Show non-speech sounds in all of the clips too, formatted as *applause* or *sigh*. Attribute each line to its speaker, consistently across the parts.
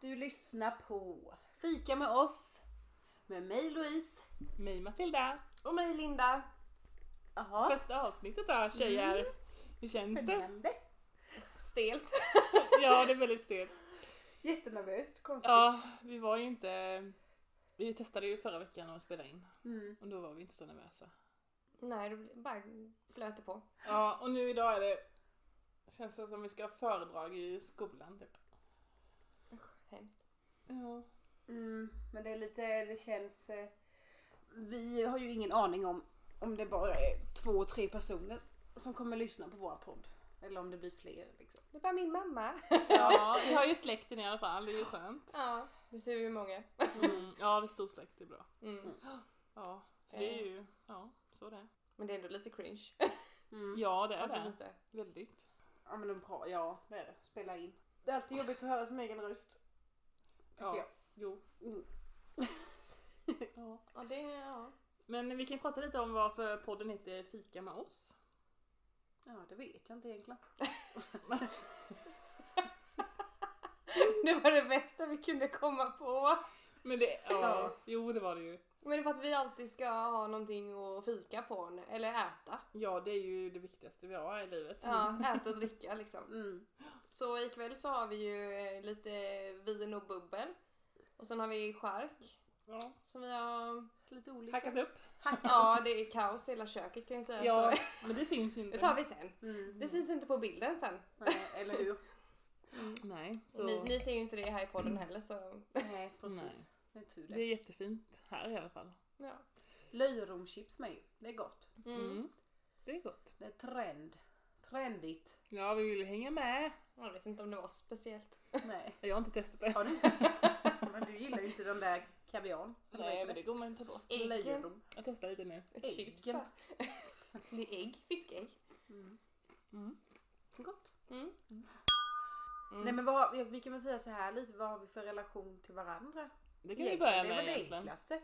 Speaker 1: Du lyssnar på Fika med oss med mig Louise.
Speaker 2: Mig Matilda.
Speaker 3: Och mig Linda.
Speaker 1: Jaha,
Speaker 2: Första avsnittet då tjejer. Hur känns det?
Speaker 1: spännande.
Speaker 3: Stelt.
Speaker 2: Ja det är väldigt stelt.
Speaker 1: Jättenervöst, konstigt.
Speaker 2: Ja vi var ju inte, vi testade ju förra veckan att spela in
Speaker 1: Mm.
Speaker 2: och då var vi inte så nervösa.
Speaker 3: Nej, det bara flöt det på.
Speaker 2: Ja och nu idag är det, känns det som vi ska ha föredrag i skolan typ.
Speaker 3: Hemskt.
Speaker 2: Ja.
Speaker 1: Mm, men det är lite, det känns... eh, Vi har ju ingen aning om om det bara är två, tre personer som kommer lyssna på vår podd. Eller om det blir fler liksom.
Speaker 3: Det var
Speaker 2: *laughs*
Speaker 3: min mamma.
Speaker 2: ja vi har ju släkten i alla fall, det är ju skönt.
Speaker 3: Ja. Nu ser vi hur många.
Speaker 2: Mm. Ja vi är stor släkt, det är bra.
Speaker 3: Mm.
Speaker 2: Ja, för det är ju, ja så det är.
Speaker 3: Men det är ändå lite cringe.
Speaker 1: Mm.
Speaker 2: Ja det är
Speaker 3: *laughs* Alltså
Speaker 2: det.
Speaker 3: lite.
Speaker 2: Väldigt.
Speaker 1: Ja men det är bra, ja det är det. Spela in. Det är alltid jobbigt att höra sin egen röst. Tycker
Speaker 2: Ja.
Speaker 1: jag.
Speaker 2: Jo.
Speaker 1: Mm.
Speaker 2: ja.
Speaker 3: Ja, det ja.
Speaker 2: Men vi kan prata lite om varför podden heter Fika med oss.
Speaker 1: Ja det vet jag inte egentligen.
Speaker 3: *laughs* Det var det bästa vi kunde komma på.
Speaker 2: Men det, ja,
Speaker 1: Ja.
Speaker 2: jo det var det ju.
Speaker 3: Men det är för att vi alltid ska ha någonting att fika på, n- eller äta.
Speaker 2: Ja det är ju det viktigaste vi har i livet.
Speaker 3: Ja, äta och dricka liksom.
Speaker 1: Mm.
Speaker 3: Så ikväll så har vi ju eh, lite vin och bubbel. Och sen har vi skärk
Speaker 2: Ja.
Speaker 3: som vi
Speaker 2: *laughs*
Speaker 3: har...
Speaker 1: Lite olika.
Speaker 2: Hackat upp.
Speaker 3: Hack- Ja, det är kaos i hela köket kan jag säga.
Speaker 2: Ja,
Speaker 3: Så
Speaker 2: men det syns ju inte.
Speaker 3: det tar vi sen.
Speaker 1: Mm.
Speaker 3: Det syns inte på bilden sen.
Speaker 1: Nej, Eller hur?
Speaker 2: Nej, så...
Speaker 3: Ni, ni ser ju inte det här i podden heller så...
Speaker 1: Nej precis.
Speaker 2: Nej.
Speaker 1: Det är tur
Speaker 2: Det
Speaker 1: det.
Speaker 2: är jättefint här i alla fall.
Speaker 3: Ja.
Speaker 1: Löjromschips med ju. Det är gott.
Speaker 3: Mm.
Speaker 2: Mm. Det är gott.
Speaker 1: Det är trend. Trendigt.
Speaker 2: Ja vi vill ju hänga med.
Speaker 3: Jag vet inte om det var speciellt.
Speaker 1: Nej.
Speaker 2: Jag har inte testat det.
Speaker 1: Har du? Men du gillar ju inte den där kaviarn. Eller vad heter det?
Speaker 2: går man inte bort.
Speaker 3: Äggen.
Speaker 1: Löjrom.
Speaker 2: Jag testar lite nu.
Speaker 3: Ett
Speaker 1: Ägg.
Speaker 3: chips bara. *laughs* Det är ägg. Fiskägg.
Speaker 1: Mm.
Speaker 2: Mm.
Speaker 1: Gott.
Speaker 3: Mm. Mm.
Speaker 1: Nej men vad, vi kan väl säga så här lite, vad har vi för relation till varandra?
Speaker 2: Det kan vi
Speaker 1: Egentligen,
Speaker 2: börja
Speaker 1: det är
Speaker 2: med
Speaker 1: väl det
Speaker 2: egentligen.
Speaker 1: enklaste.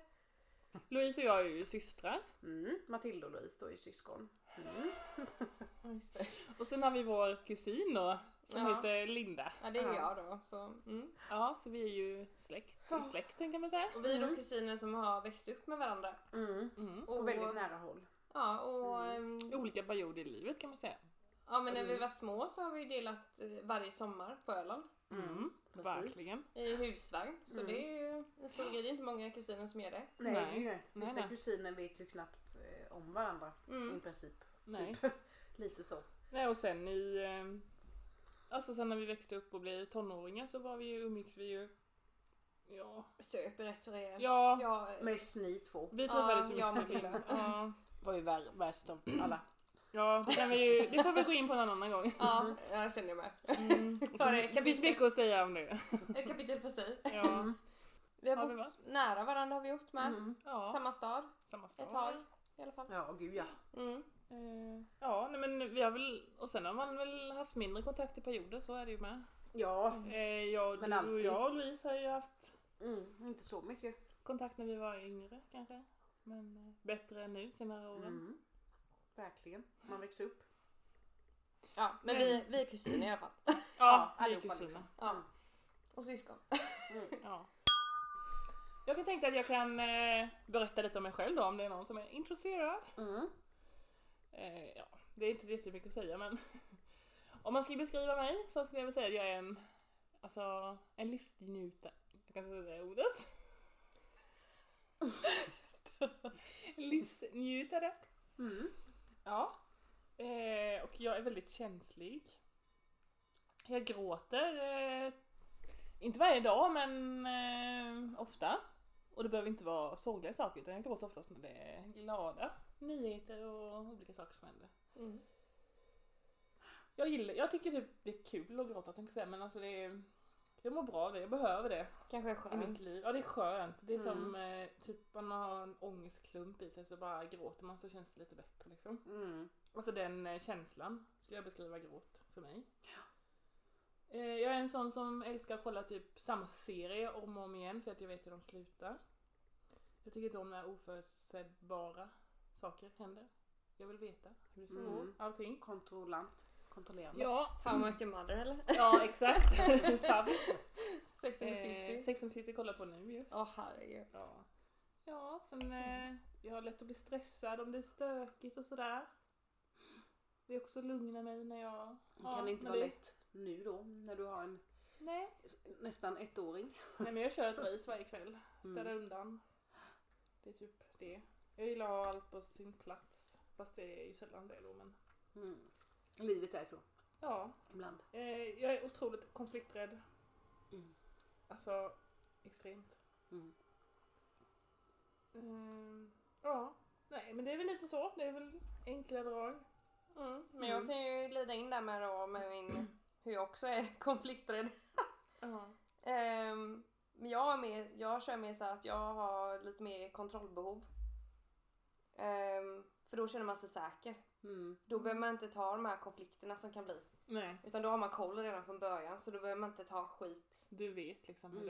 Speaker 2: Louise och jag är ju systrar.
Speaker 1: Mm. Matilda och Louise då är ju syskon. Mm.
Speaker 3: Ja, just det.
Speaker 2: Och sen har vi vår kusin då, som
Speaker 3: Ja.
Speaker 2: heter Linda.
Speaker 3: Ja, det är
Speaker 1: Ja.
Speaker 3: jag då. Så.
Speaker 2: Mm. Ja, så vi är ju släkt i släkten kan man säga.
Speaker 3: Och vi är
Speaker 1: Mm.
Speaker 3: de kusiner som har växt upp med varandra.
Speaker 1: Mm.
Speaker 2: Mm.
Speaker 1: På
Speaker 3: Och-
Speaker 1: väldigt nära håll.
Speaker 3: Ja, och
Speaker 2: I
Speaker 3: ehm,
Speaker 2: Olika perioder i livet kan man säga.
Speaker 3: ja, men när vi
Speaker 1: Mm.
Speaker 3: var små så har vi delat eh, varje sommar på Öland
Speaker 1: Mm. Precis.
Speaker 2: Verkligen.
Speaker 3: i husvagn. Så
Speaker 1: Mm.
Speaker 3: det är ju en stor grej. Det är inte många kusiner som gör det.
Speaker 1: Nej,
Speaker 2: Nej.
Speaker 1: det är ju det.
Speaker 2: Nej,
Speaker 1: Vissa
Speaker 2: nej.
Speaker 1: kusiner vet ju knappt eh, om varandra i
Speaker 3: Mm.
Speaker 1: princip.
Speaker 2: Nej.
Speaker 1: Typ. *laughs* Lite så.
Speaker 2: Nej, och sen i... eh, Alltså sen när vi växte upp och blev tonåringar så var vi ju, umgicks vi ju... Ja.
Speaker 3: Söper rätt så rejält.
Speaker 2: Ja.
Speaker 3: Jag,
Speaker 1: Men ni två
Speaker 2: Vi träffades
Speaker 3: Ja,
Speaker 2: ju
Speaker 3: jag och
Speaker 2: mycket.
Speaker 3: Matilda.
Speaker 2: Ja.
Speaker 1: var ju vär, värst av alla.
Speaker 2: Ja, det kan vi ju, det får vi gå in på en annan gång.
Speaker 3: ja, jag känner mig.
Speaker 2: *laughs* Mm.
Speaker 3: För det
Speaker 2: Det finns
Speaker 3: kapitel,
Speaker 2: mycket att säga om det.
Speaker 3: ett kapitel för sig.
Speaker 2: Ja.
Speaker 1: Mm.
Speaker 3: Vi har
Speaker 2: Har vi
Speaker 3: bott nära varandra har vi gjort med.
Speaker 1: Mm.
Speaker 2: ja.
Speaker 3: Samma stad
Speaker 2: Samma stad.
Speaker 3: ett tag i alla fall.
Speaker 1: Ja, gud ja.
Speaker 3: Mm.
Speaker 2: Eh, Ja, nej men vi har väl... Och sen har man väl haft mindre kontakt i perioder, så är det ju med.
Speaker 1: Ja,
Speaker 2: Eh, jag,
Speaker 1: Men
Speaker 2: du och
Speaker 1: alltid.
Speaker 2: jag och Louise har ju haft
Speaker 1: mm. inte så mycket.
Speaker 2: kontakt när vi var yngre kanske. Men eh, bättre än nu senare åren.
Speaker 1: Mm. Verkligen. Man växer upp.
Speaker 3: Ja, men vi, vi är kusiner i alla fall.
Speaker 2: Ja, vi är
Speaker 1: allihopa liksom.
Speaker 2: kusiner.
Speaker 3: Ja. Och syskon.
Speaker 2: Ja. Jag kan tänka att jag kan eh, berätta lite om mig själv då om det är någon som är intresserad.
Speaker 1: Mm.
Speaker 2: Eh, ja, det är inte så jättemycket att säga men *laughs* om man skulle beskriva mig så skulle jag väl säga att jag är en, alltså, en livsnjutare. Jag kan inte säga det ordet. *laughs* Livsnjutare.
Speaker 1: Mm.
Speaker 2: Ja. Eh, och jag är väldigt känslig. Jag gråter, eh, inte varje dag men eh, ofta. Och det behöver inte vara sorgliga saker utan jag gråter oftast när det är glada nyheter och olika saker som händer.
Speaker 3: Mm.
Speaker 2: Jag, gillar, jag tycker typ det är kul att gråta tänkte jag säga men alltså det är, jag mår bra av det, jag behöver det
Speaker 3: Kanske
Speaker 2: i mitt
Speaker 3: skönt.
Speaker 2: liv. Ja det är skönt. Det är som eh, typ man har en ångestklump i sig så bara gråter man så känns det lite bättre liksom.
Speaker 1: Mm.
Speaker 2: Alltså den eh, känslan skulle jag beskriva gråt för mig. Eh, Jag är en sån som älskar att kolla typ samma serie om och om igen för att jag vet hur de slutar. Jag tycker inte om när oförutsägbara saker händer. Jag vill veta hur det ska gå,
Speaker 1: Mm.
Speaker 2: allting.
Speaker 1: Kontrollant. Kontrollerande.
Speaker 2: Ja,
Speaker 3: How much your mother eller?
Speaker 2: ja
Speaker 3: *laughs*
Speaker 2: exakt. Fabs.
Speaker 3: Sex and the
Speaker 2: Eh,
Speaker 3: City.
Speaker 2: Sex and the City kollar på nu just.
Speaker 3: Åh herregud.
Speaker 2: Ja, ja sen eh, jag har lätt att bli stressad om det är stökigt och sådär. Det också lugnar mig när jag...
Speaker 1: Det
Speaker 2: ja,
Speaker 1: kan inte
Speaker 2: men
Speaker 1: vara
Speaker 2: det-
Speaker 1: lätt nu då när du har en
Speaker 2: Nej.
Speaker 1: nästan ettåring. Mm.
Speaker 2: Nej, men jag
Speaker 3: *laughs*
Speaker 2: kör ett race varje kväll. Städa
Speaker 3: Mm.
Speaker 2: undan. Det är typ det. Jag gillar att ha allt på sin plats. Fast det är ju sällan det då men...
Speaker 1: Mm. Livet är så
Speaker 2: Ja,
Speaker 1: ibland.
Speaker 2: eh, jag är otroligt konflikträdd.
Speaker 1: Mm.
Speaker 2: Alltså, extremt.
Speaker 1: Mm.
Speaker 2: Mm, ja, nej men det är väl lite så. Det är väl enkla drag.
Speaker 3: Mm. Men jag kan ju glida in där med, då, med min, hur jag också är *laughs* konflikträdd.
Speaker 2: Ja.
Speaker 3: Ehm, men jag, har mer, jag kör mer så här att jag har lite mer kontrollbehov. Ehm, för då känner man sig säker.
Speaker 1: Mm.
Speaker 3: Då behöver man inte ta de här konflikterna som kan bli.
Speaker 2: Nej.
Speaker 3: Utan då har man koll redan från början så då behöver man inte ta skit.
Speaker 2: Du vet liksom hur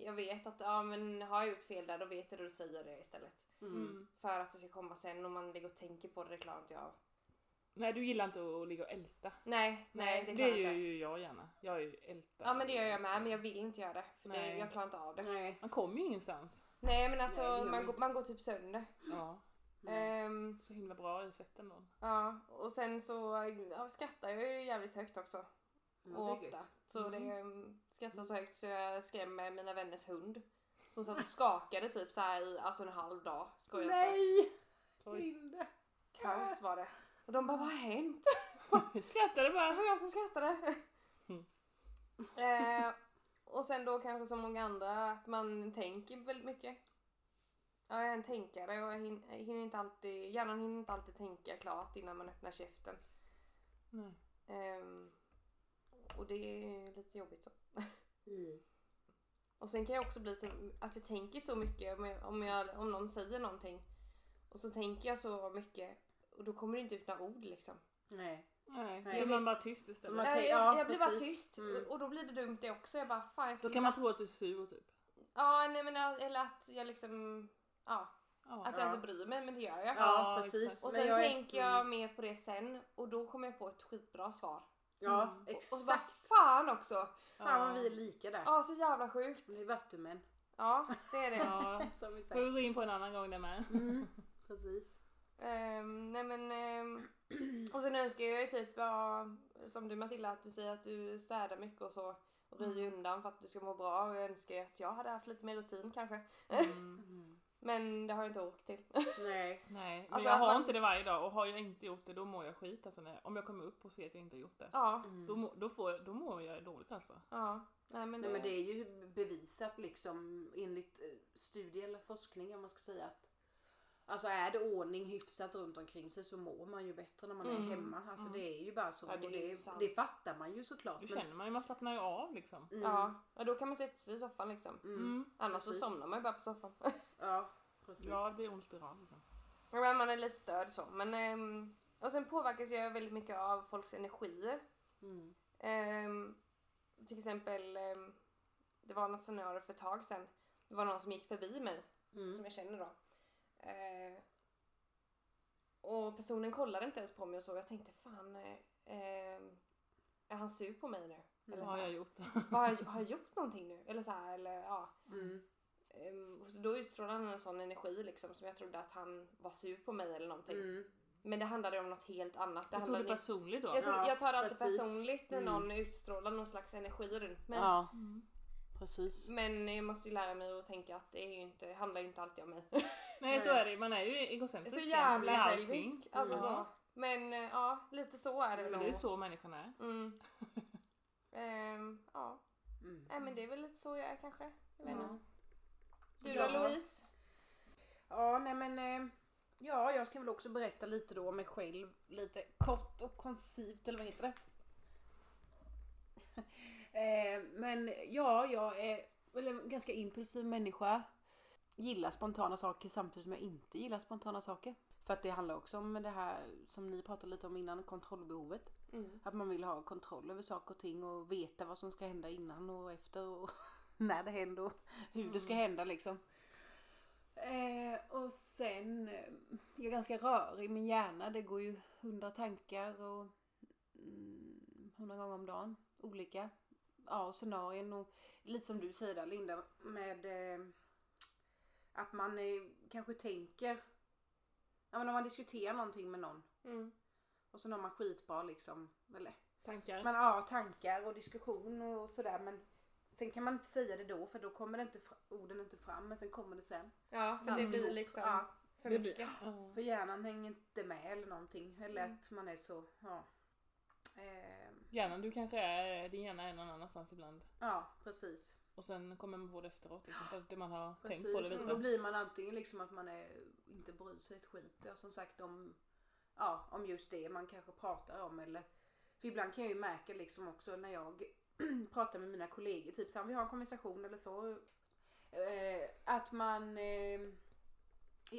Speaker 1: Mm.
Speaker 3: Jag vet att ja, men har jag gjort fel där då vet jag det och säger det istället.
Speaker 2: det...
Speaker 1: Mm.
Speaker 3: För att det ska komma sen om man ligger och tänker på det, det klarar inte jag av.
Speaker 2: Nej, du gillar inte att ligga och älta.
Speaker 3: Nej, nej, det
Speaker 2: det
Speaker 3: klarar
Speaker 2: gör
Speaker 3: inte.
Speaker 2: ju jag gärna. Jag är ju älta.
Speaker 3: Ja men det gör jag med men jag vill inte göra det. För det,
Speaker 2: Nej.
Speaker 3: jag klarar inte av det.
Speaker 1: Nej.
Speaker 2: Man kommer ju ingenstans.
Speaker 3: Nej men alltså
Speaker 1: Nej, det gör
Speaker 3: man,
Speaker 1: vi
Speaker 3: går, man går typ sönder.
Speaker 2: Ja.
Speaker 1: Mm.
Speaker 3: Ehm,
Speaker 2: Så himla bra utsett
Speaker 3: *gasps*
Speaker 2: ändå.
Speaker 3: Ja, och sen så ja, skrattar jag ju jävligt högt också.
Speaker 1: Ja,
Speaker 3: Och
Speaker 1: det är
Speaker 3: ofta.
Speaker 1: gött.
Speaker 3: Så det mm, skrattar så högt så jag skrämmer mina vänners hund. Som satt och skakade typ så här i alltså en halv dag. Skojar inte.
Speaker 1: Nej!
Speaker 2: Oj,
Speaker 1: Linda.
Speaker 3: Kaos var det. Och de bara vad har hänt?
Speaker 2: jag skrattade
Speaker 3: Det
Speaker 2: bara.
Speaker 3: var jag som skrattade.
Speaker 2: Mm.
Speaker 3: *laughs* eh, och sen då kanske som många andra att man tänker väldigt mycket. Ja, jag är en tänkare och jag hin- jag hinner inte alltid, hjärnan hinner inte alltid tänka klart innan man öppnar käften.
Speaker 2: Nej.
Speaker 3: Ehm, och det är lite jobbigt så.
Speaker 1: Mm.
Speaker 3: Och sen kan jag också bli så att jag tänker så mycket om, jag, om, jag, om någon säger någonting. Och så tänker jag så mycket och då kommer det inte ut några ord liksom.
Speaker 1: Nej.
Speaker 2: Nej.
Speaker 1: Nej.
Speaker 2: Då blir man bara tyst istället.
Speaker 1: Man-
Speaker 3: Jag, jag,
Speaker 1: tänker-
Speaker 3: Eh, jag,
Speaker 1: ja,
Speaker 3: blir bara
Speaker 1: precis.
Speaker 3: tyst
Speaker 1: Mm.
Speaker 3: och då blir det dumt det också. Jag bara fan jag ska
Speaker 2: Då kan man
Speaker 3: liksom-
Speaker 2: tro att du är sur typ.
Speaker 3: Ja, nej men jag- eller att jag liksom ja,
Speaker 2: Ja.
Speaker 3: att
Speaker 1: Ja.
Speaker 3: jag inte bryr mig men det gör
Speaker 1: Ja,
Speaker 3: jag.
Speaker 2: Ja,
Speaker 1: precis.
Speaker 2: exakt.
Speaker 3: Och
Speaker 1: Men
Speaker 3: sen
Speaker 1: är- mm.
Speaker 3: tänker jag Mm. mer på det sen och då kommer jag på ett skitbra svar.
Speaker 1: Ja,
Speaker 2: Mm.
Speaker 3: Och så bara
Speaker 1: exakt.
Speaker 3: fan också!
Speaker 1: Fan vad
Speaker 2: Ja.
Speaker 1: vi är lika där.
Speaker 3: Ja, så jävla sjukt.
Speaker 1: Vi är vattumän.
Speaker 3: Ja, det
Speaker 1: *laughs*
Speaker 3: är det.
Speaker 2: ja.
Speaker 1: Som vi
Speaker 2: Får
Speaker 1: säger.
Speaker 2: vi gå in på en annan gång där med.
Speaker 1: Mm. Precis.
Speaker 3: Ehm, nej men, ehm, och sen önskar jag ju typ, ja, som du Matilda, att du säger att du städar mycket och så. Och röjer
Speaker 1: Mm.
Speaker 3: undan för att du ska må bra. Och jag önskar ju att jag hade haft lite mer rutin kanske.
Speaker 2: Mm.
Speaker 3: Men det har jag inte ork till.
Speaker 1: Nej.
Speaker 2: Nej, men
Speaker 3: Alltså,
Speaker 2: jag har
Speaker 3: man-
Speaker 2: inte det varje dag och har jag inte gjort det då mår jag skit. Alltså, när, om jag kommer upp och ser att jag inte har gjort det.
Speaker 3: Ja,
Speaker 2: Då, må, då, får jag, då mår jag dåligt alltså.
Speaker 3: ja. Nej men,
Speaker 1: Nej men det är ju bevisat liksom enligt eh, studie eller forskning om man ska säga att Alltså är det ordning hyfsat runt omkring sig så mår man ju bättre när man
Speaker 3: Mm.
Speaker 1: är hemma. Alltså det är ju bara så.
Speaker 3: Ja, det
Speaker 1: det,
Speaker 3: är
Speaker 1: och
Speaker 3: ju
Speaker 1: det,
Speaker 3: sant.
Speaker 1: det fattar man ju såklart.
Speaker 2: Då känner man ju, man slappnar ju av liksom.
Speaker 1: mm,
Speaker 3: ja. ja, då kan man sätta sig i soffan liksom.
Speaker 2: Mm.
Speaker 3: Annars
Speaker 1: Precis.
Speaker 3: så somnar man ju bara på soffan.
Speaker 1: Ja, precis.
Speaker 2: Ja, det blir ond spiral. Liksom.
Speaker 3: Ja, men man är lite störd så. Men, ehm, och sen påverkas jag väldigt mycket av folks energier.
Speaker 1: Mm.
Speaker 3: Ehm, till exempel, ehm, det var något scenario för ett tag sedan. Det var någon som gick förbi mig, som
Speaker 1: Mm.
Speaker 3: jag känner då. Eh, och personen kollade inte ens på mig och så. Jag tänkte fan, eh, ehm, är han sur på mig nu? Eller
Speaker 2: Vad
Speaker 3: så
Speaker 2: har
Speaker 3: här,
Speaker 2: jag gjort?
Speaker 3: "Vad har, jag, har jag gjort någonting nu? Eller så här, eller ja.
Speaker 1: Mm.
Speaker 3: Ehm, och så då utstrålade han en sån energi liksom som jag trodde att han var sur på mig eller någonting.
Speaker 1: Mm.
Speaker 3: Men det handlade om något helt annat. Det
Speaker 2: Jag tog det
Speaker 3: handlade
Speaker 2: personligt då.
Speaker 3: liksom- jag, tror,
Speaker 1: Ja,
Speaker 3: jag tar det alltid
Speaker 1: precis.
Speaker 3: personligt när
Speaker 1: Mm.
Speaker 3: någon utstrålar någon slags energi runt mig.
Speaker 1: Ja,
Speaker 2: Mm.
Speaker 1: precis.
Speaker 3: Men jag måste ju lära mig att tänka att det är ju inte, handlar ju inte alltid om mig.
Speaker 2: Nej, så är det. Man är ju egocentrisk.
Speaker 3: så
Speaker 2: egentligen,
Speaker 3: jävla
Speaker 2: i allting.
Speaker 3: självisk. Alltså
Speaker 2: Ja.
Speaker 3: så. Men eh, ja, lite så är det väl
Speaker 2: Men det är
Speaker 3: nog.
Speaker 2: så människan är.
Speaker 3: Mm. Ehm, ja,
Speaker 1: Mm.
Speaker 3: Nej, men det är väl lite så jag är kanske. Jag vet inte.
Speaker 1: Ja.
Speaker 3: Du
Speaker 1: Ja.
Speaker 3: då Louise?
Speaker 1: Ja, nej men... eh, Ja, jag ska väl också berätta lite då om mig själv. Lite kort och koncist, eller vad heter det? *laughs* Eh, Men ja, jag är väl en ganska impulsiv människa. Gillar spontana saker samtidigt som jag inte gillar spontana saker. För att det handlar också om det här som ni pratade lite om innan, kontrollbehovet.
Speaker 3: Mm.
Speaker 1: Att man vill ha kontroll över saker och ting och veta vad som ska hända innan och efter och *laughs* när det händer och hur det ska hända liksom. Eh, och sen, eh, jag är ganska rörig, min hjärna det går ju hundra tankar och mm, hundra gånger om dagen. Olika ja, och scenarien och lite som du säger där Linda med eh, att man eh, kanske tänker, ja men om man diskuterar någonting med någon
Speaker 3: Mm.
Speaker 1: och sen har man skitbra liksom, eller
Speaker 2: Tankar?
Speaker 1: man har tankar och diskussion och sådär men sen kan man inte säga det då för då kommer det inte, fra- orden inte fram men sen kommer det sen.
Speaker 3: Ja, för det
Speaker 1: Bland
Speaker 3: blir
Speaker 1: ihop.
Speaker 3: liksom
Speaker 1: Ja.
Speaker 3: för
Speaker 2: Det
Speaker 3: mycket.
Speaker 2: blir- ja.
Speaker 1: För hjärnan hänger inte med eller någonting eller
Speaker 3: Mm.
Speaker 1: att man är så, ja. Ehm,
Speaker 2: Hjärnan, du kanske är, din hjärna är någon annanstans ibland.
Speaker 1: ja precis.
Speaker 2: Och sen kommer man på det efteråt liksom, för att man har tänkt
Speaker 1: Precis,
Speaker 2: på det
Speaker 1: och då
Speaker 2: lite.
Speaker 1: blir man antingen liksom att man är, inte bryr sig ett skit ja, som sagt om, ja, om just det man kanske pratar om eller för ibland kan jag ju märka liksom också när jag *clears throat* pratar med mina kollegor, typ så här, om vi har en konversation eller så. Eh, att man, eh,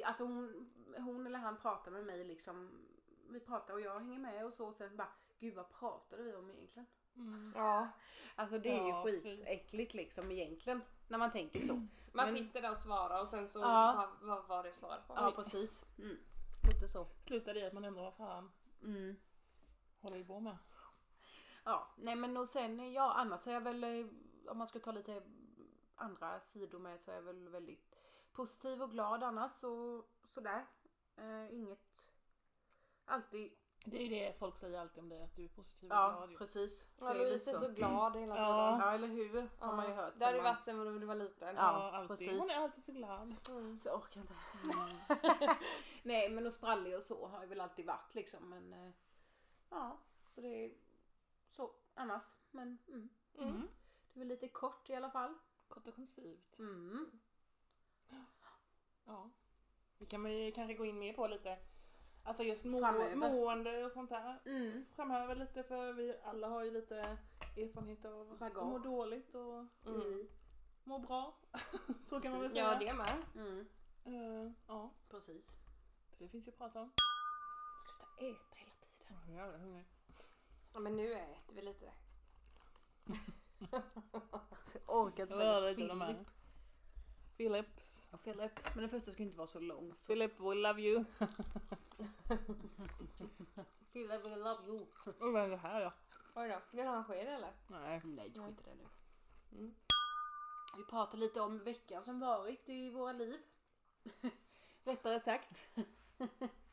Speaker 1: alltså hon, hon eller han pratar med mig liksom, vi pratar och jag hänger med och så och sen bara, gud vad pratade vi om egentligen?
Speaker 2: Mm.
Speaker 3: Ja.
Speaker 1: Alltså det är
Speaker 2: Ja,
Speaker 1: ju
Speaker 2: fy.
Speaker 1: skitäckligt liksom egentligen när man tänker så.
Speaker 3: Man
Speaker 1: Men-
Speaker 3: sitter där och svarar och sen så
Speaker 1: Ja.
Speaker 3: vad, vad var det svar på?
Speaker 1: Ja precis, mm. lite så.
Speaker 2: Slutar i att man undrar vad fan
Speaker 1: Mm.
Speaker 2: håller vi på med?
Speaker 1: Ja, nej men och sen, ja annars är jag väl, eh, om man ska ta lite andra sidor med så är jag väl väldigt positiv och glad annars och sådär. Eh, inget, alltid,
Speaker 2: Det är ju det folk säger alltid om dig, att du är positiv och
Speaker 1: ja
Speaker 2: glad. ju.
Speaker 1: precis.
Speaker 3: Ja,
Speaker 1: Det är
Speaker 3: Louise är
Speaker 1: lite
Speaker 3: så glad hela tiden.
Speaker 2: Ja.
Speaker 1: Ja eller hur, har man ju hört.
Speaker 3: Det har
Speaker 1: sen
Speaker 3: du
Speaker 1: man-
Speaker 3: varit sen du var liten.
Speaker 1: Ja,
Speaker 2: alltid.
Speaker 1: precis.
Speaker 2: Hon är alltid så glad.
Speaker 3: Mm.
Speaker 1: Så jag orkar inte. *laughs* nej men och sprallig och så har jag väl alltid varit liksom men eh, ja, så det är så annars. Men mm.
Speaker 3: Mm.
Speaker 2: Mm.
Speaker 1: det är väl lite kort i alla fall.
Speaker 2: Kort och koncist.
Speaker 1: Mm.
Speaker 2: Ja. Det kan man ju kanske gå in mer på lite. Alltså just må-
Speaker 1: Framöver.
Speaker 2: mående och sånt där.
Speaker 1: Mm.
Speaker 2: Framöver lite för vi alla har ju lite erfarenhet av
Speaker 1: Bagage.
Speaker 2: att må dåligt och
Speaker 3: Mm.
Speaker 2: må bra. *laughs* så kan man väl säga.
Speaker 3: Ja, det med.
Speaker 1: Mm.
Speaker 2: Eh, ja,
Speaker 1: Precis.
Speaker 2: så det finns ju att prata om.
Speaker 1: Sluta äta hela tiden.
Speaker 2: Jag är jävla hungrig.
Speaker 3: Ja, men nu äter vi lite.
Speaker 1: Jag orkar inte
Speaker 2: Rör
Speaker 1: säga
Speaker 2: dig de
Speaker 1: Filip.
Speaker 2: här. Philips.
Speaker 1: Filip. Men den första ska inte vara så lång. Så
Speaker 2: Philip, we love you.
Speaker 1: Filip, we love you.
Speaker 2: *laughs* Och vad är det här då?
Speaker 3: Oj då, vill du ha en sked eller?
Speaker 2: Nej.
Speaker 1: Nej,
Speaker 3: Nej.
Speaker 1: skit i det nu.
Speaker 3: Mm.
Speaker 1: Vi pratar lite om veckan som varit i våra liv. *laughs* Rättare sagt. ja,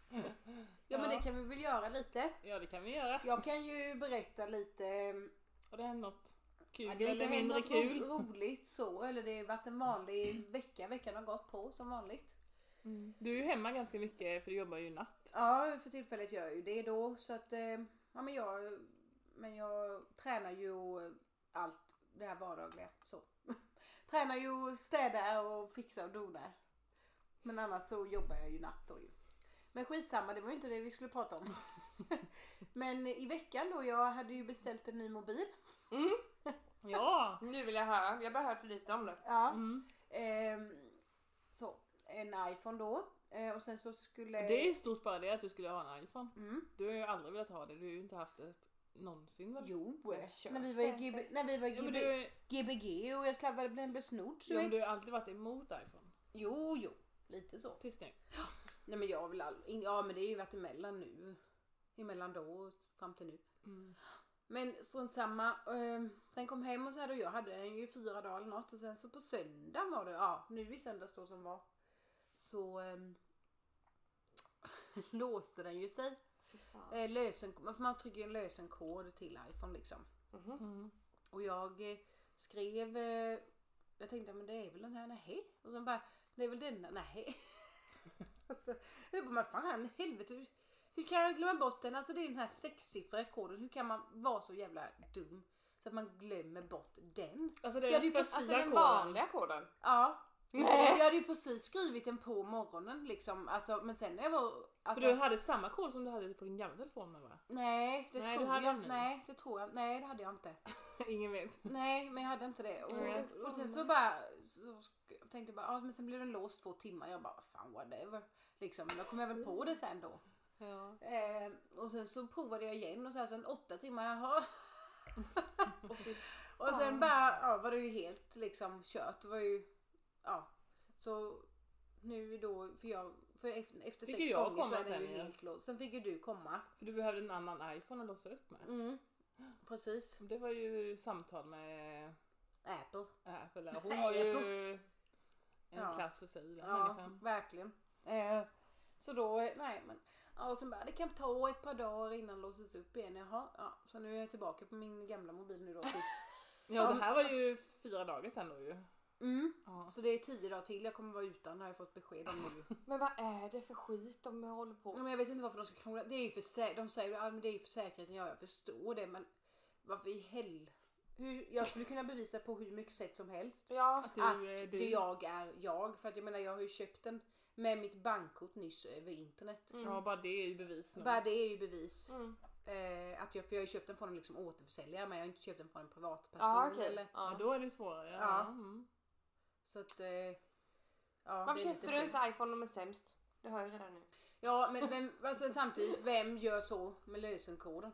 Speaker 1: men
Speaker 2: Ja.
Speaker 1: det kan vi väl göra lite.
Speaker 2: Ja, det kan vi göra.
Speaker 1: Jag kan ju berätta lite. ehm,
Speaker 2: Och det händer något kul
Speaker 1: Ja, det har inte
Speaker 2: eller
Speaker 1: hänt
Speaker 2: mindre
Speaker 1: något
Speaker 2: kul.
Speaker 1: ro- roligt så. Eller det har varit en vanlig vecka. Veckan har gått på som vanligt.
Speaker 2: Du är ju hemma ganska mycket för du jobbar ju natt.
Speaker 1: Ja, för tillfället gör jag ju det då. Så att, eh, ja men jag, men jag tränar ju eh, allt det här vardagliga så. *laughs* tränar ju, städar och fixar och donar. Men annars så jobbar jag ju natt då ju. Men skitsamma, det var ju inte det vi skulle prata om. *laughs* men i veckan då, jag hade ju beställt en ny mobil.
Speaker 2: Ja!
Speaker 3: Nu vill jag höra, jag har bara hört lite om det.
Speaker 1: Ja.
Speaker 2: *laughs* Mm.
Speaker 1: Ehm, så, en iPhone då. Eh, och sen så skulle...
Speaker 2: Det är ju stort bara det att du skulle ha en iPhone.
Speaker 1: Mm.
Speaker 2: Du har ju aldrig velat ha det, du har ju inte haft det någonsin väl?
Speaker 1: Jo,
Speaker 3: Men kör.
Speaker 1: när vi var i GB, när vi var i
Speaker 2: Ja, men
Speaker 1: GB,
Speaker 2: du,
Speaker 1: GBG och jag slabbade blev besnodd. Så
Speaker 2: ja, men
Speaker 1: vet.
Speaker 2: du har alltid varit emot iPhone.
Speaker 1: Jo, jo, lite så.
Speaker 2: Tills nu.
Speaker 1: Nej men jag vill all... Ja men det är ju varit emellan nu. Emellan då och fram till nu.
Speaker 2: Mm.
Speaker 1: Men strunt samma. Eh, den kom hem och så här och jag hade den ju i fyra dagar eller något och sen så på söndagen var det, ja nu i söndags då som var. Så ehm, *laughs* låste den ju sig.
Speaker 3: Fy fan.
Speaker 1: Eh, lösen, för man trycker ju en lösenkod till iPhone liksom.
Speaker 3: Mhm.
Speaker 2: Mm.
Speaker 1: Och jag eh, skrev, eh, jag tänkte men det är väl den här, nej. Och sen bara, det är väl denna, nej. *laughs* alltså, jag bara, men fan helvete. Hur, hur kan jag glömma bort den? Alltså det är den här sexsiffriga koden. Hur kan man vara så jävla dum så att man glömmer bort den?
Speaker 2: Alltså det är
Speaker 1: Ja, det är ju
Speaker 2: den första
Speaker 1: precis
Speaker 3: Alltså den
Speaker 2: koden.
Speaker 3: vanliga koden.
Speaker 1: Ja,
Speaker 3: Nej.
Speaker 1: Jag hade ju precis skrivit den på morgonen liksom. Alltså, men sen när jag var... Alltså,
Speaker 2: För du hade samma kod som du hade på din gamla telefon med va?
Speaker 1: Nej, det
Speaker 2: Nej, du
Speaker 1: tror
Speaker 2: hade
Speaker 1: jag
Speaker 2: den nu.
Speaker 1: Nej, det tror jag. Nej, det hade jag inte.
Speaker 2: *laughs* Ingen vet.
Speaker 1: Nej, men jag hade inte det. Och,
Speaker 2: Nej.
Speaker 1: och sen så bara så sk- tänkte jag bara, ah, men sen blev den låst två timmar. Jag bara, fan whatever. Liksom, men då kom jag väl på det sen då.
Speaker 2: Ja.
Speaker 1: Eh, och sen så provade jag igen och så här, sen åtta timmar,
Speaker 2: *laughs*
Speaker 1: jaha. *laughs* och sen bara, ja, var det ju helt liksom kört. Det var ju, ja. Så nu då, för jag, för efter, efter
Speaker 2: Fick
Speaker 1: sex
Speaker 2: ju jag
Speaker 1: gånger så
Speaker 2: komma
Speaker 1: är den
Speaker 2: sen,
Speaker 1: ju
Speaker 2: ja.
Speaker 1: helt låst. Sen fick ju du komma.
Speaker 2: För du behövde en annan iPhone att låsa upp med.
Speaker 1: Mm. Precis.
Speaker 2: Det var ju samtal med
Speaker 1: Apple.
Speaker 2: Apple. Hon har ju en
Speaker 1: Ja.
Speaker 2: klass för sig den
Speaker 1: Ja,
Speaker 2: människan.
Speaker 1: verkligen. Eh, så då, eh, nej men. Ja, och sen bara, det kan ta ett par dagar innan det låses upp igen. Jaha, ja, så nu är jag tillbaka på min gamla mobil *laughs* nu då tills.
Speaker 2: Ja det här var ju fyra dagar sedan då ju.
Speaker 1: Mm.
Speaker 2: Ja.
Speaker 1: Så det är tio dagar till jag kommer vara utan, har jag fått besked om *laughs* nu.
Speaker 3: Men vad är det för skit de håller på
Speaker 1: Ja, men jag vet inte varför de ska krångla. Det är ju för sä- de säger ju ah, men det är ju för säkerheten, ja jag förstår det men varför i hell... Hur, jag skulle kunna bevisa på hur mycket sätt som helst
Speaker 3: Ja.
Speaker 2: Att du,
Speaker 1: att Ah,
Speaker 2: eh,
Speaker 1: det
Speaker 2: du.
Speaker 1: jag är jag. För att jag menar jag har ju köpt den med mitt bankkort nyss över internet.
Speaker 2: Ja bara det är ju bevis nog.
Speaker 1: Bara det är ju bevis.
Speaker 3: Mm.
Speaker 1: Eh, att jag, för jag har ju köpt den från en liksom återförsäljare men jag har inte köpt den från en privatperson.
Speaker 3: Ja okej.
Speaker 1: eller,
Speaker 2: Ja
Speaker 3: Ja.
Speaker 2: då är det svårare. Ja.
Speaker 1: Ja.
Speaker 2: Mm.
Speaker 1: så att, eh, ja, det är
Speaker 3: Varför köpte
Speaker 1: lite
Speaker 3: du
Speaker 1: sjukt.
Speaker 3: ens iPhone om är sämst? Det hör jag redan nu.
Speaker 1: Ja men vem, alltså, samtidigt, vem gör så med lösenkoden?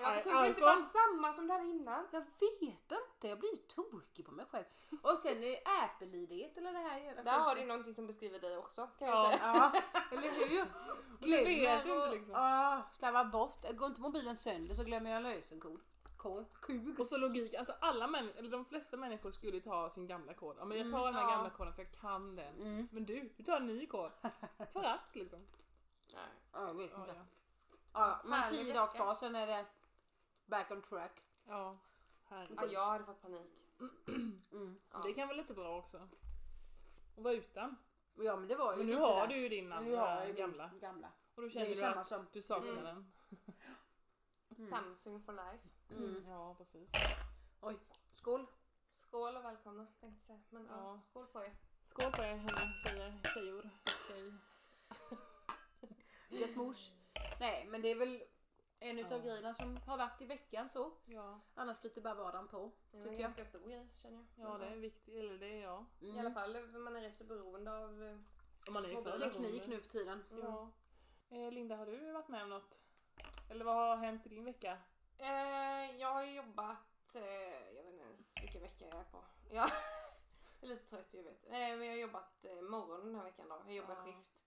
Speaker 3: Jag
Speaker 2: I-
Speaker 3: tror inte det var
Speaker 2: iPhone.
Speaker 3: samma som där innan.
Speaker 1: Jag vet inte, jag blir ju tokig på mig själv. Och sen är Apple-id eller det här jävla
Speaker 3: Där har du
Speaker 1: skiten.
Speaker 3: någonting som beskriver dig också kan jag
Speaker 2: Ja.
Speaker 3: säga.
Speaker 1: Ja, eller hur?
Speaker 2: det vet
Speaker 1: Glömmer
Speaker 2: du inte
Speaker 1: och-
Speaker 2: liksom.
Speaker 1: Ah, slarvar bort. Går inte mobilen sönder så glömmer jag lösenkod. Kod. Kug.
Speaker 2: *laughs* Och så logik, alltså alla män, eller de flesta människor skulle ju ta sin gamla kod. Ja men jag tar den här
Speaker 3: ja.
Speaker 2: gamla koden för jag kan den.
Speaker 1: Mm.
Speaker 2: Men du, du tar en ny kod. För att liksom.
Speaker 3: Nej.
Speaker 1: Ja, jag vet
Speaker 2: Ja,
Speaker 1: inte.
Speaker 2: ja.
Speaker 1: Ja, men
Speaker 3: Härlig
Speaker 1: tio dagar
Speaker 3: vecka.
Speaker 1: kvar sen är det back on track.
Speaker 2: ja.
Speaker 3: Ja,
Speaker 2: Herregud.
Speaker 3: jag hade fått panik.
Speaker 2: Det kan vara lite bra också. Att vara utan.
Speaker 1: Ja men det var ju
Speaker 2: Men nu
Speaker 1: lite
Speaker 2: har
Speaker 1: där.
Speaker 2: du ju din
Speaker 1: Nu har jag
Speaker 2: andra
Speaker 1: ju
Speaker 2: gamla.
Speaker 1: min gamla.
Speaker 2: Och då
Speaker 1: Det är ju
Speaker 2: känner du
Speaker 1: samma
Speaker 2: att
Speaker 1: som...
Speaker 2: du saknar
Speaker 3: Mm.
Speaker 2: den.
Speaker 3: Samsung for life.
Speaker 1: Mm.
Speaker 2: Ja precis.
Speaker 1: Oj, skål.
Speaker 3: Skål och välkomna tänkte jag säga. Men ja.
Speaker 2: Ja.
Speaker 3: skål på er.
Speaker 2: Skål på er hörni, tjejer, tjejor. Tjej.
Speaker 1: Gött mors. Nej men det är väl en utav
Speaker 2: Ja.
Speaker 1: grejerna som har varit i veckan så.
Speaker 2: Ja.
Speaker 1: Annars flyter bara vardagen på.
Speaker 3: Det var
Speaker 1: Tycker
Speaker 3: en
Speaker 1: jag.
Speaker 3: ganska stor grej känner jag.
Speaker 2: ja det är viktigt, eller det är jag.
Speaker 1: Mm.
Speaker 3: I alla fall för man är rätt så beroende av... eh,
Speaker 2: Om man är i
Speaker 3: Mobil.
Speaker 2: förhållande.
Speaker 1: Teknik nu för tiden.
Speaker 2: Ja. Eh, Linda har du varit med om något? Eller vad har hänt i din vecka?
Speaker 3: Eh, jag har ju jobbat, eh, jag vet inte ens vilken vecka jag är på. Jag är lite trött *laughs* jag vet. Eh, men jag har jobbat eh, morgon den här veckan då. Jag jobbar
Speaker 2: Ja.
Speaker 3: skift.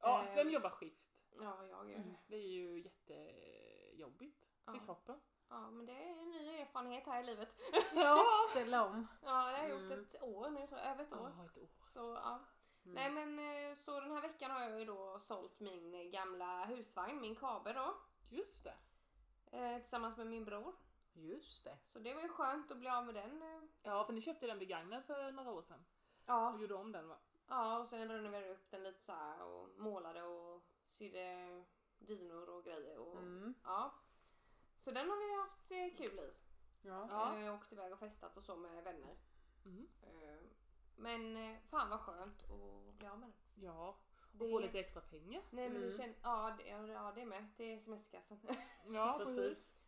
Speaker 2: Ja,
Speaker 3: Eh.
Speaker 2: vem jobbar skift?
Speaker 3: Ja, jag
Speaker 1: Mm.
Speaker 3: gör det.
Speaker 2: Det är ju jättejobbigt för
Speaker 3: Ja.
Speaker 2: kroppen.
Speaker 3: Ja, men det är en ny erfarenhet här i livet.
Speaker 2: *laughs* Ja!
Speaker 1: Ställa om.
Speaker 3: Ja, det har jag gjort
Speaker 1: Mm.
Speaker 3: ett år nu tror jag. Över ett år.
Speaker 2: ett år.
Speaker 3: Så ja. Nej
Speaker 2: Mm.
Speaker 3: men eh, så den här veckan har jag ju då sålt min eh, gamla husvagn, min kabe då.
Speaker 2: Just det.
Speaker 3: eh, Tillsammans med min bror.
Speaker 1: Mm. Just det.
Speaker 3: Så det var ju skönt att bli av med den. eh.
Speaker 2: Ja, för ni köpte den begagnad för några år sedan
Speaker 3: Ja.
Speaker 2: och gjorde om den va?
Speaker 3: Ja och sen renoverade jag upp den lite så här och målade och sydde dynor och grejer. Och,
Speaker 1: Mm.
Speaker 3: ja. Så den har vi haft eh, kul i.
Speaker 1: Ja.
Speaker 2: Ja.
Speaker 3: Eh, åkt iväg och festat och så med vänner.
Speaker 2: Mm.
Speaker 3: Eh, Men eh, fan vad skönt att bli av med den.
Speaker 2: Ja, och
Speaker 3: Det-
Speaker 2: få lite extra pengar.
Speaker 3: Nej men det
Speaker 1: Mm.
Speaker 3: känns, ja, det, ja det är med, det är semesterkassan.
Speaker 2: Ja,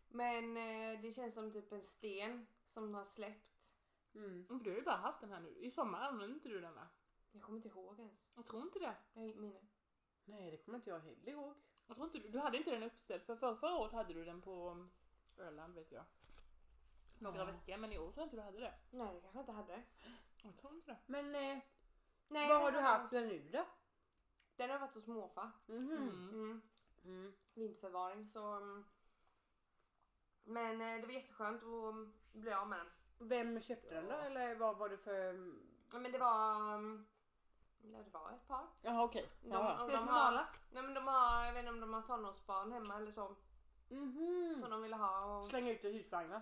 Speaker 3: Men eh, det känns som typ en sten som har släppt.
Speaker 1: Mm.
Speaker 2: Mm, För du har ju bara haft den här nu. I sommar använde inte du den va?
Speaker 3: Jag kommer inte ihåg ens.
Speaker 2: Jag tror inte det.
Speaker 3: Jag har inget minne.
Speaker 1: Nej det kommer inte jag heller ihåg.
Speaker 2: Jag tror inte du, du hade inte den uppställd för förra, förra året hade du den på um, Öland vet jag. Några
Speaker 1: Ja.
Speaker 2: veckor men i år tror jag inte du hade det.
Speaker 3: Nej det kanske jag inte hade.
Speaker 2: Jag tror inte det.
Speaker 1: Men eh, vad
Speaker 3: Nej, det
Speaker 1: har du
Speaker 3: hade jag
Speaker 1: haft den nu då?
Speaker 3: inte. Den har varit hos morfar.
Speaker 1: Mhm.
Speaker 2: Mm.
Speaker 3: Mm.
Speaker 1: Mm.
Speaker 3: Vinterförvaring så. mm. Men eh, det var jätteskönt att mm, bli av med den.
Speaker 1: Vem köpte den då
Speaker 2: Ja.
Speaker 1: eller vad var det för...
Speaker 3: Ja, men det var. mm, Ja, det var ett par.
Speaker 1: Jaha okej.
Speaker 3: De,
Speaker 1: Ja.
Speaker 3: och
Speaker 2: Helt
Speaker 3: de har,
Speaker 2: normala.
Speaker 3: nej, men de har, jag vet inte om de har tonårsbarn hemma eller så.
Speaker 1: Mhm.
Speaker 3: Som de ville ha. Och,
Speaker 1: Slänga ut i *laughs* husvagnen.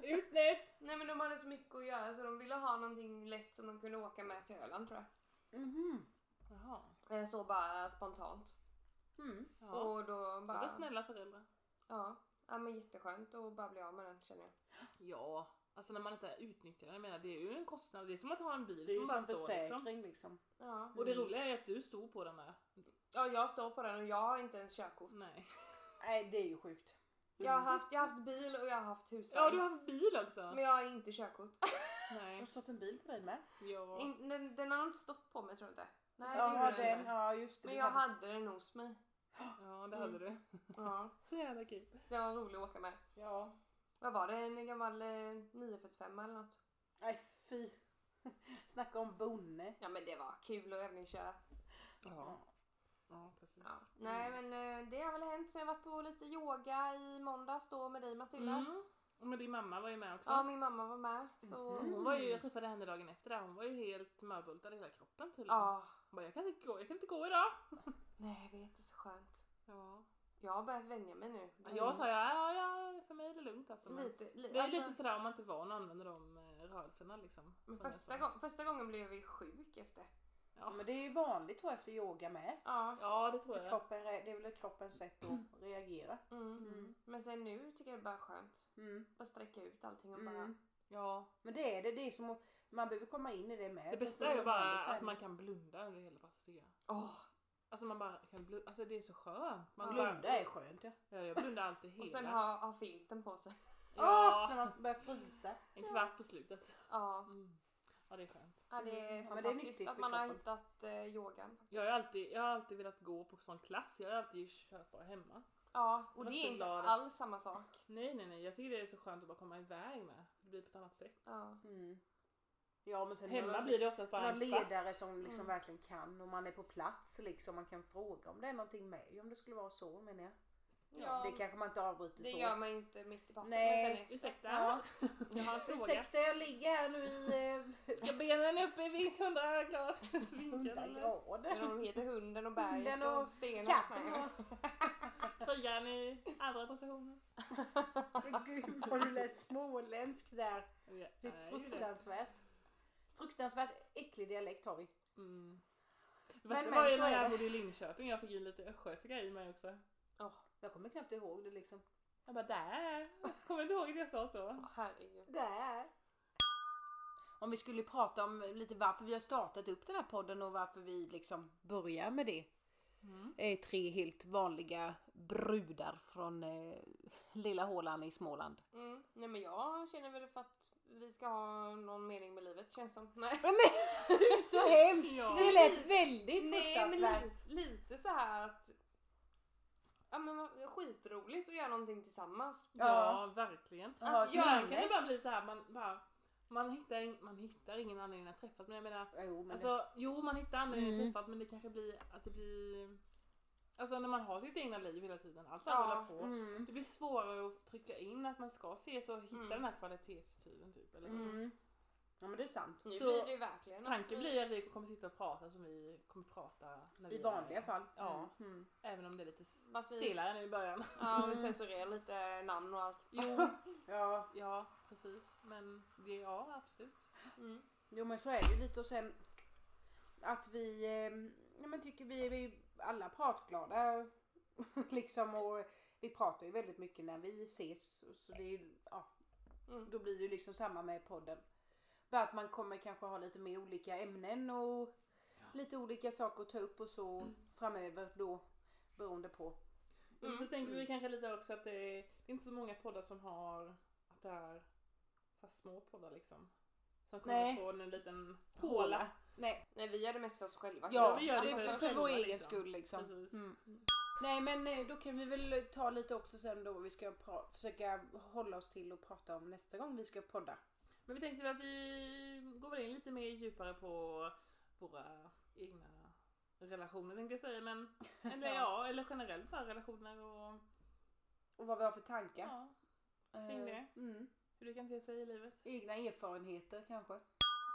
Speaker 2: Ut nu!
Speaker 3: nej men de hade så mycket att göra så de ville ha någonting lätt som de kunde åka med till Öland tror jag.
Speaker 1: Mhm.
Speaker 2: Jaha.
Speaker 3: Eh, Så bara spontant.
Speaker 1: Mm.
Speaker 2: Ja.
Speaker 3: Och då
Speaker 2: Det var
Speaker 3: bara...
Speaker 2: snälla föräldrar.
Speaker 3: Ja. ja men jätteskönt att bara bli av med den känner jag.
Speaker 2: Ja, Alltså när man inte utnyttjar den. Jag menar, det är ju en kostnad. Det är som att ha en bil
Speaker 1: Det är
Speaker 2: som Mm.
Speaker 1: ju
Speaker 2: bara
Speaker 1: som
Speaker 2: står liksom.
Speaker 1: försäkring liksom.
Speaker 3: Ja.
Speaker 2: Och det roliga är att du står på den här.
Speaker 3: ja, jag står på den och jag har inte ens körkort.
Speaker 2: Nej.
Speaker 1: Nej det är ju sjukt.
Speaker 3: Jag, har haft, jag har haft bil och jag har haft husvagn.
Speaker 2: Ja, du har haft bil också.
Speaker 3: Men jag har inte körkort.
Speaker 1: Det har
Speaker 2: Nej.
Speaker 1: stått en bil på dig med.
Speaker 2: Ja.
Speaker 3: In, den, den har nog inte stått på mig tror jag inte. Nej, det
Speaker 1: Ja,
Speaker 3: gjorde den
Speaker 1: den,
Speaker 3: inte.
Speaker 1: ja just det.
Speaker 3: Men
Speaker 1: du
Speaker 3: jag
Speaker 1: hade-
Speaker 3: hade den hos mig.
Speaker 2: Ja, det hade du.
Speaker 3: Ja,
Speaker 2: Så jävla kul.
Speaker 3: den var rolig att åka med.
Speaker 2: Ja.
Speaker 3: Vad var det? En gammal eh, 945 eller något?
Speaker 1: Nej fy. *laughs* Snacka om bonne.
Speaker 3: Ja men det var kul att övningsköra.
Speaker 2: Ja. Ja, precis.
Speaker 3: Ja. Nej men eh, det har väl hänt. Så jag har varit på lite yoga i måndags då med dig Matilda.
Speaker 2: Mm. Och men din mamma var ju med också.
Speaker 3: Ja Mm. min mamma var med. Så...
Speaker 2: Mm. Hon var ju, jag träffade henne dagen efter där, hon var ju helt mörbultad i hela kroppen tydligen.
Speaker 3: Ja.
Speaker 2: Hon bara, jag kan inte gå, jag kan inte gå idag.
Speaker 3: Nej jag vet, det är så skönt.
Speaker 2: Ja.
Speaker 3: Jag har börjat vänja mig nu.
Speaker 2: Ja, Jag sa ja, ja, för mig är det lugnt alltså. Men
Speaker 3: Lite, li,
Speaker 2: det är
Speaker 3: alltså,
Speaker 2: lite sådär om man inte är van att använda de eh, rörelserna liksom.
Speaker 3: men
Speaker 2: Som jag
Speaker 3: första,
Speaker 2: sa.
Speaker 3: gång, första gången blev vi sjuk efter.
Speaker 1: Ja, men det är ju vanligt tror jag efter yoga med.
Speaker 3: Ja.
Speaker 2: Ja, det tror
Speaker 1: För
Speaker 2: jag.
Speaker 1: kroppen, re- det är väl ett kroppens sätt att reagera.
Speaker 3: Mm.
Speaker 1: Mm.
Speaker 3: Men sen nu tycker jag det bara är skönt.
Speaker 1: Mm.
Speaker 3: Bara sträcka ut allting och bara...
Speaker 1: Mm.
Speaker 2: Ja.
Speaker 1: Men det är det, det är som att man behöver komma in i det med.
Speaker 2: Det bästa är
Speaker 1: Precis
Speaker 2: ju
Speaker 1: som
Speaker 2: bara
Speaker 1: vanlig
Speaker 2: att
Speaker 1: träning.
Speaker 2: man kan blunda under hela passet tycker jag.
Speaker 3: Åh!
Speaker 2: Alltså man bara kan blunda, alltså det är så skönt. Man
Speaker 3: Ja.
Speaker 2: bara,
Speaker 1: Blunda är skönt ja.
Speaker 2: ja, jag blundar alltid hela.
Speaker 3: och sen ha, ha filten på sig.
Speaker 1: Ah,
Speaker 2: ja,
Speaker 1: När man börjar frysa.
Speaker 2: en kvart på slutet.
Speaker 3: Ja.
Speaker 2: Mm. Ja, det är skönt.
Speaker 3: ja det är
Speaker 1: Mm. Ja, men det är
Speaker 3: fantastiskt
Speaker 1: nyttigt
Speaker 3: att
Speaker 1: för
Speaker 3: man har
Speaker 1: kroppen.
Speaker 3: hittat eh, yogan.
Speaker 2: Jag har, ju alltid, jag har alltid velat gå på sån klass, jag har alltid kört bara hemma.
Speaker 3: Ja,
Speaker 2: Jag
Speaker 3: och det
Speaker 2: var
Speaker 3: är
Speaker 2: så
Speaker 3: inte
Speaker 2: glad.
Speaker 3: alls samma sak.
Speaker 2: Nej, nej, nej. Jag tycker det är så skönt att bara komma iväg med. Det blir på ett annat sätt.
Speaker 3: Ja.
Speaker 1: Mm. Ja men sen
Speaker 2: Hemma
Speaker 1: någon,
Speaker 2: blir det Mm. ofta bara
Speaker 1: någon
Speaker 2: en kvart.
Speaker 1: ledare som liksom verkligen kan och man är på plats liksom. Man kan fråga om det är någonting med om det skulle vara så menar jag.
Speaker 3: Ja,
Speaker 1: Det kanske man inte avbryter
Speaker 3: det
Speaker 1: så.
Speaker 3: gör man ju inte mitt i passet.
Speaker 1: Nej.
Speaker 3: Men sen är...
Speaker 2: Ursäkta,
Speaker 1: Ja.
Speaker 2: *laughs* jag har en fråga.
Speaker 1: Ursäkta jag ligger här nu i eh,
Speaker 2: Ska benen upp i 100 *laughs* graders vinkel?
Speaker 1: 100
Speaker 2: eller?
Speaker 1: grader.
Speaker 3: Men de heter hunden och berget
Speaker 1: Hunden
Speaker 3: och,
Speaker 1: och
Speaker 3: stenen.
Speaker 1: Katten
Speaker 3: Nej.
Speaker 1: och...
Speaker 2: Tröjan i andra positionen?
Speaker 1: Men *laughs* Gud vad du lät småländsk där.
Speaker 2: Ja,
Speaker 1: Det
Speaker 2: är
Speaker 1: är
Speaker 2: ju det.
Speaker 1: fruktansvärt. Fruktansvärt äcklig dialekt har vi.
Speaker 2: Mm.
Speaker 1: Men,
Speaker 2: Fast det
Speaker 1: men,
Speaker 2: var ju
Speaker 1: så
Speaker 2: när
Speaker 1: är
Speaker 2: jag
Speaker 1: det.
Speaker 2: bodde i Linköping, jag fick in lite östgötska i mig också.
Speaker 1: Jag kommer knappt ihåg det liksom.
Speaker 2: Jag bara där. Kommer inte ihåg att jag sa så.
Speaker 1: *laughs*
Speaker 3: Åh, Herregud.
Speaker 1: Där. Om vi skulle prata om lite varför vi har startat upp den här podden och varför vi liksom börjar med det. Eh, tre helt vanliga brudar från eh, lilla hålan i Småland.
Speaker 3: Mm. Nej men jag känner väl för att vi ska ha någon mening med livet känns som. Nej.
Speaker 1: Men *laughs* så hemskt!
Speaker 2: Ja.
Speaker 1: Det lät väldigt
Speaker 3: Nej men
Speaker 1: fruktansvärt.
Speaker 3: lite, lite så här att ja, men vad- skitroligt att göra någonting tillsammans.
Speaker 2: Ja,
Speaker 1: Ja.
Speaker 2: verkligen.
Speaker 1: Jag har
Speaker 3: att
Speaker 1: ett
Speaker 3: göra
Speaker 2: Ibland kan
Speaker 1: minne.
Speaker 2: det bara bli så här, man bara... Man hittar, ing- man hittar ingen anledning att träffas men jag menar
Speaker 1: Jo, men
Speaker 2: Alltså, jo man hittar anledningen
Speaker 1: Mm.
Speaker 2: till träffat men det kanske blir att det blir Alltså när man har sitt egna liv hela tiden, allt man
Speaker 3: Ja.
Speaker 2: rullar på.
Speaker 1: Mm.
Speaker 2: Det blir svårare att trycka in att man ska ses och hitta
Speaker 3: Mm.
Speaker 2: den här kvalitetstiden typ. Eller så.
Speaker 1: Mm. Ja men det är sant.
Speaker 3: Nu
Speaker 2: Så-
Speaker 3: blir det ju verkligen att vi-
Speaker 2: Tanken blir att vi kommer sitta och prata som vi kommer prata när vi
Speaker 1: I
Speaker 2: är-
Speaker 1: vanliga fall.
Speaker 2: Ja,
Speaker 1: Mm.
Speaker 2: även om det är lite
Speaker 3: fast vi,
Speaker 2: stelare nu i början.
Speaker 3: ja, vi censurerar lite namn och allt.
Speaker 2: *laughs* Jo,
Speaker 1: Ja,
Speaker 2: ja precis. Men det, ja absolut.
Speaker 3: Mm.
Speaker 1: jo men så är det ju lite och sen att vi, eh, ja, men tycker vi är vi alla pratglada *laughs* liksom och vi pratar ju väldigt mycket när vi ses så det är ju, ja,
Speaker 3: Mm.
Speaker 1: då blir det ju liksom samma med podden. Bara att man kommer kanske ha lite mer olika ämnen och lite olika saker att ta upp och så
Speaker 2: Mm.
Speaker 1: framöver då beroende på.
Speaker 2: Men så
Speaker 3: Mm.
Speaker 2: tänker vi kanske lite också att det är, det är inte så många poddar som har att det är så här små poddar liksom. Som kommer
Speaker 1: Nej.
Speaker 2: från en liten håla.
Speaker 1: Nej,
Speaker 3: Nej vi gör det mest för oss själva. Alltså,
Speaker 1: ja,
Speaker 2: vi gör det
Speaker 1: det
Speaker 2: för
Speaker 1: är
Speaker 2: oss
Speaker 1: för
Speaker 2: själva,
Speaker 1: vår egen
Speaker 2: liksom.
Speaker 1: skull liksom.
Speaker 2: Precis.
Speaker 1: Mm. Nej men eh, då kan vi väl ta lite också sen då vi ska pra- försöka hålla oss till och prata om nästa gång vi ska podda.
Speaker 2: Men vi tänkte väl att vi går väl in lite mer djupare på våra egna relationer tänkte jag säga. Men, eller ja. eller generellt bara relationer och
Speaker 1: Och vad vi har för tankar.
Speaker 2: ja,
Speaker 1: Eh,
Speaker 2: kring det.
Speaker 1: Mm.
Speaker 2: hur det kan te sig i livet.
Speaker 1: Egna erfarenheter kanske.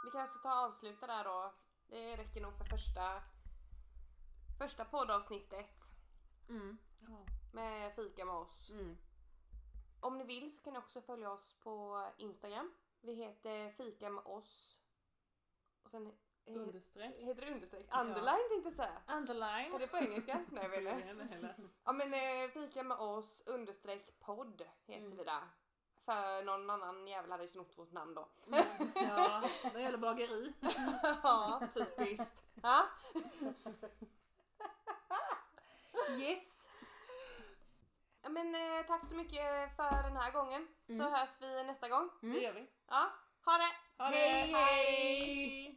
Speaker 3: Vi kanske ska ta och avsluta där då. Det räcker nog för första, första poddavsnittet
Speaker 1: Mm.
Speaker 2: Ja.
Speaker 3: med fika med oss.
Speaker 1: Mm.
Speaker 3: Om ni vill så kan ni också följa oss på Instagram. Vi heter fika med oss. Och sen eh,
Speaker 2: Understreck.
Speaker 3: heter det understreck. Underline tänkte jag säga. Är
Speaker 2: Underline.
Speaker 3: det på engelska? Nej jag vet inte.
Speaker 2: Eller- eller-
Speaker 3: Ja men eh, fika med oss understreck podd heter vi där. För någon annan jävel hade ju snott vårt namn då.
Speaker 2: Ja, det gäller bageri.
Speaker 3: ja, typiskt. Ja.
Speaker 1: Yes!
Speaker 3: Men eh, tack så mycket för den här gången. Så hörs vi nästa gång.
Speaker 2: Det gör vi.
Speaker 3: Ja, ha det!
Speaker 2: Ha det!
Speaker 1: Hej, hej!
Speaker 2: hej.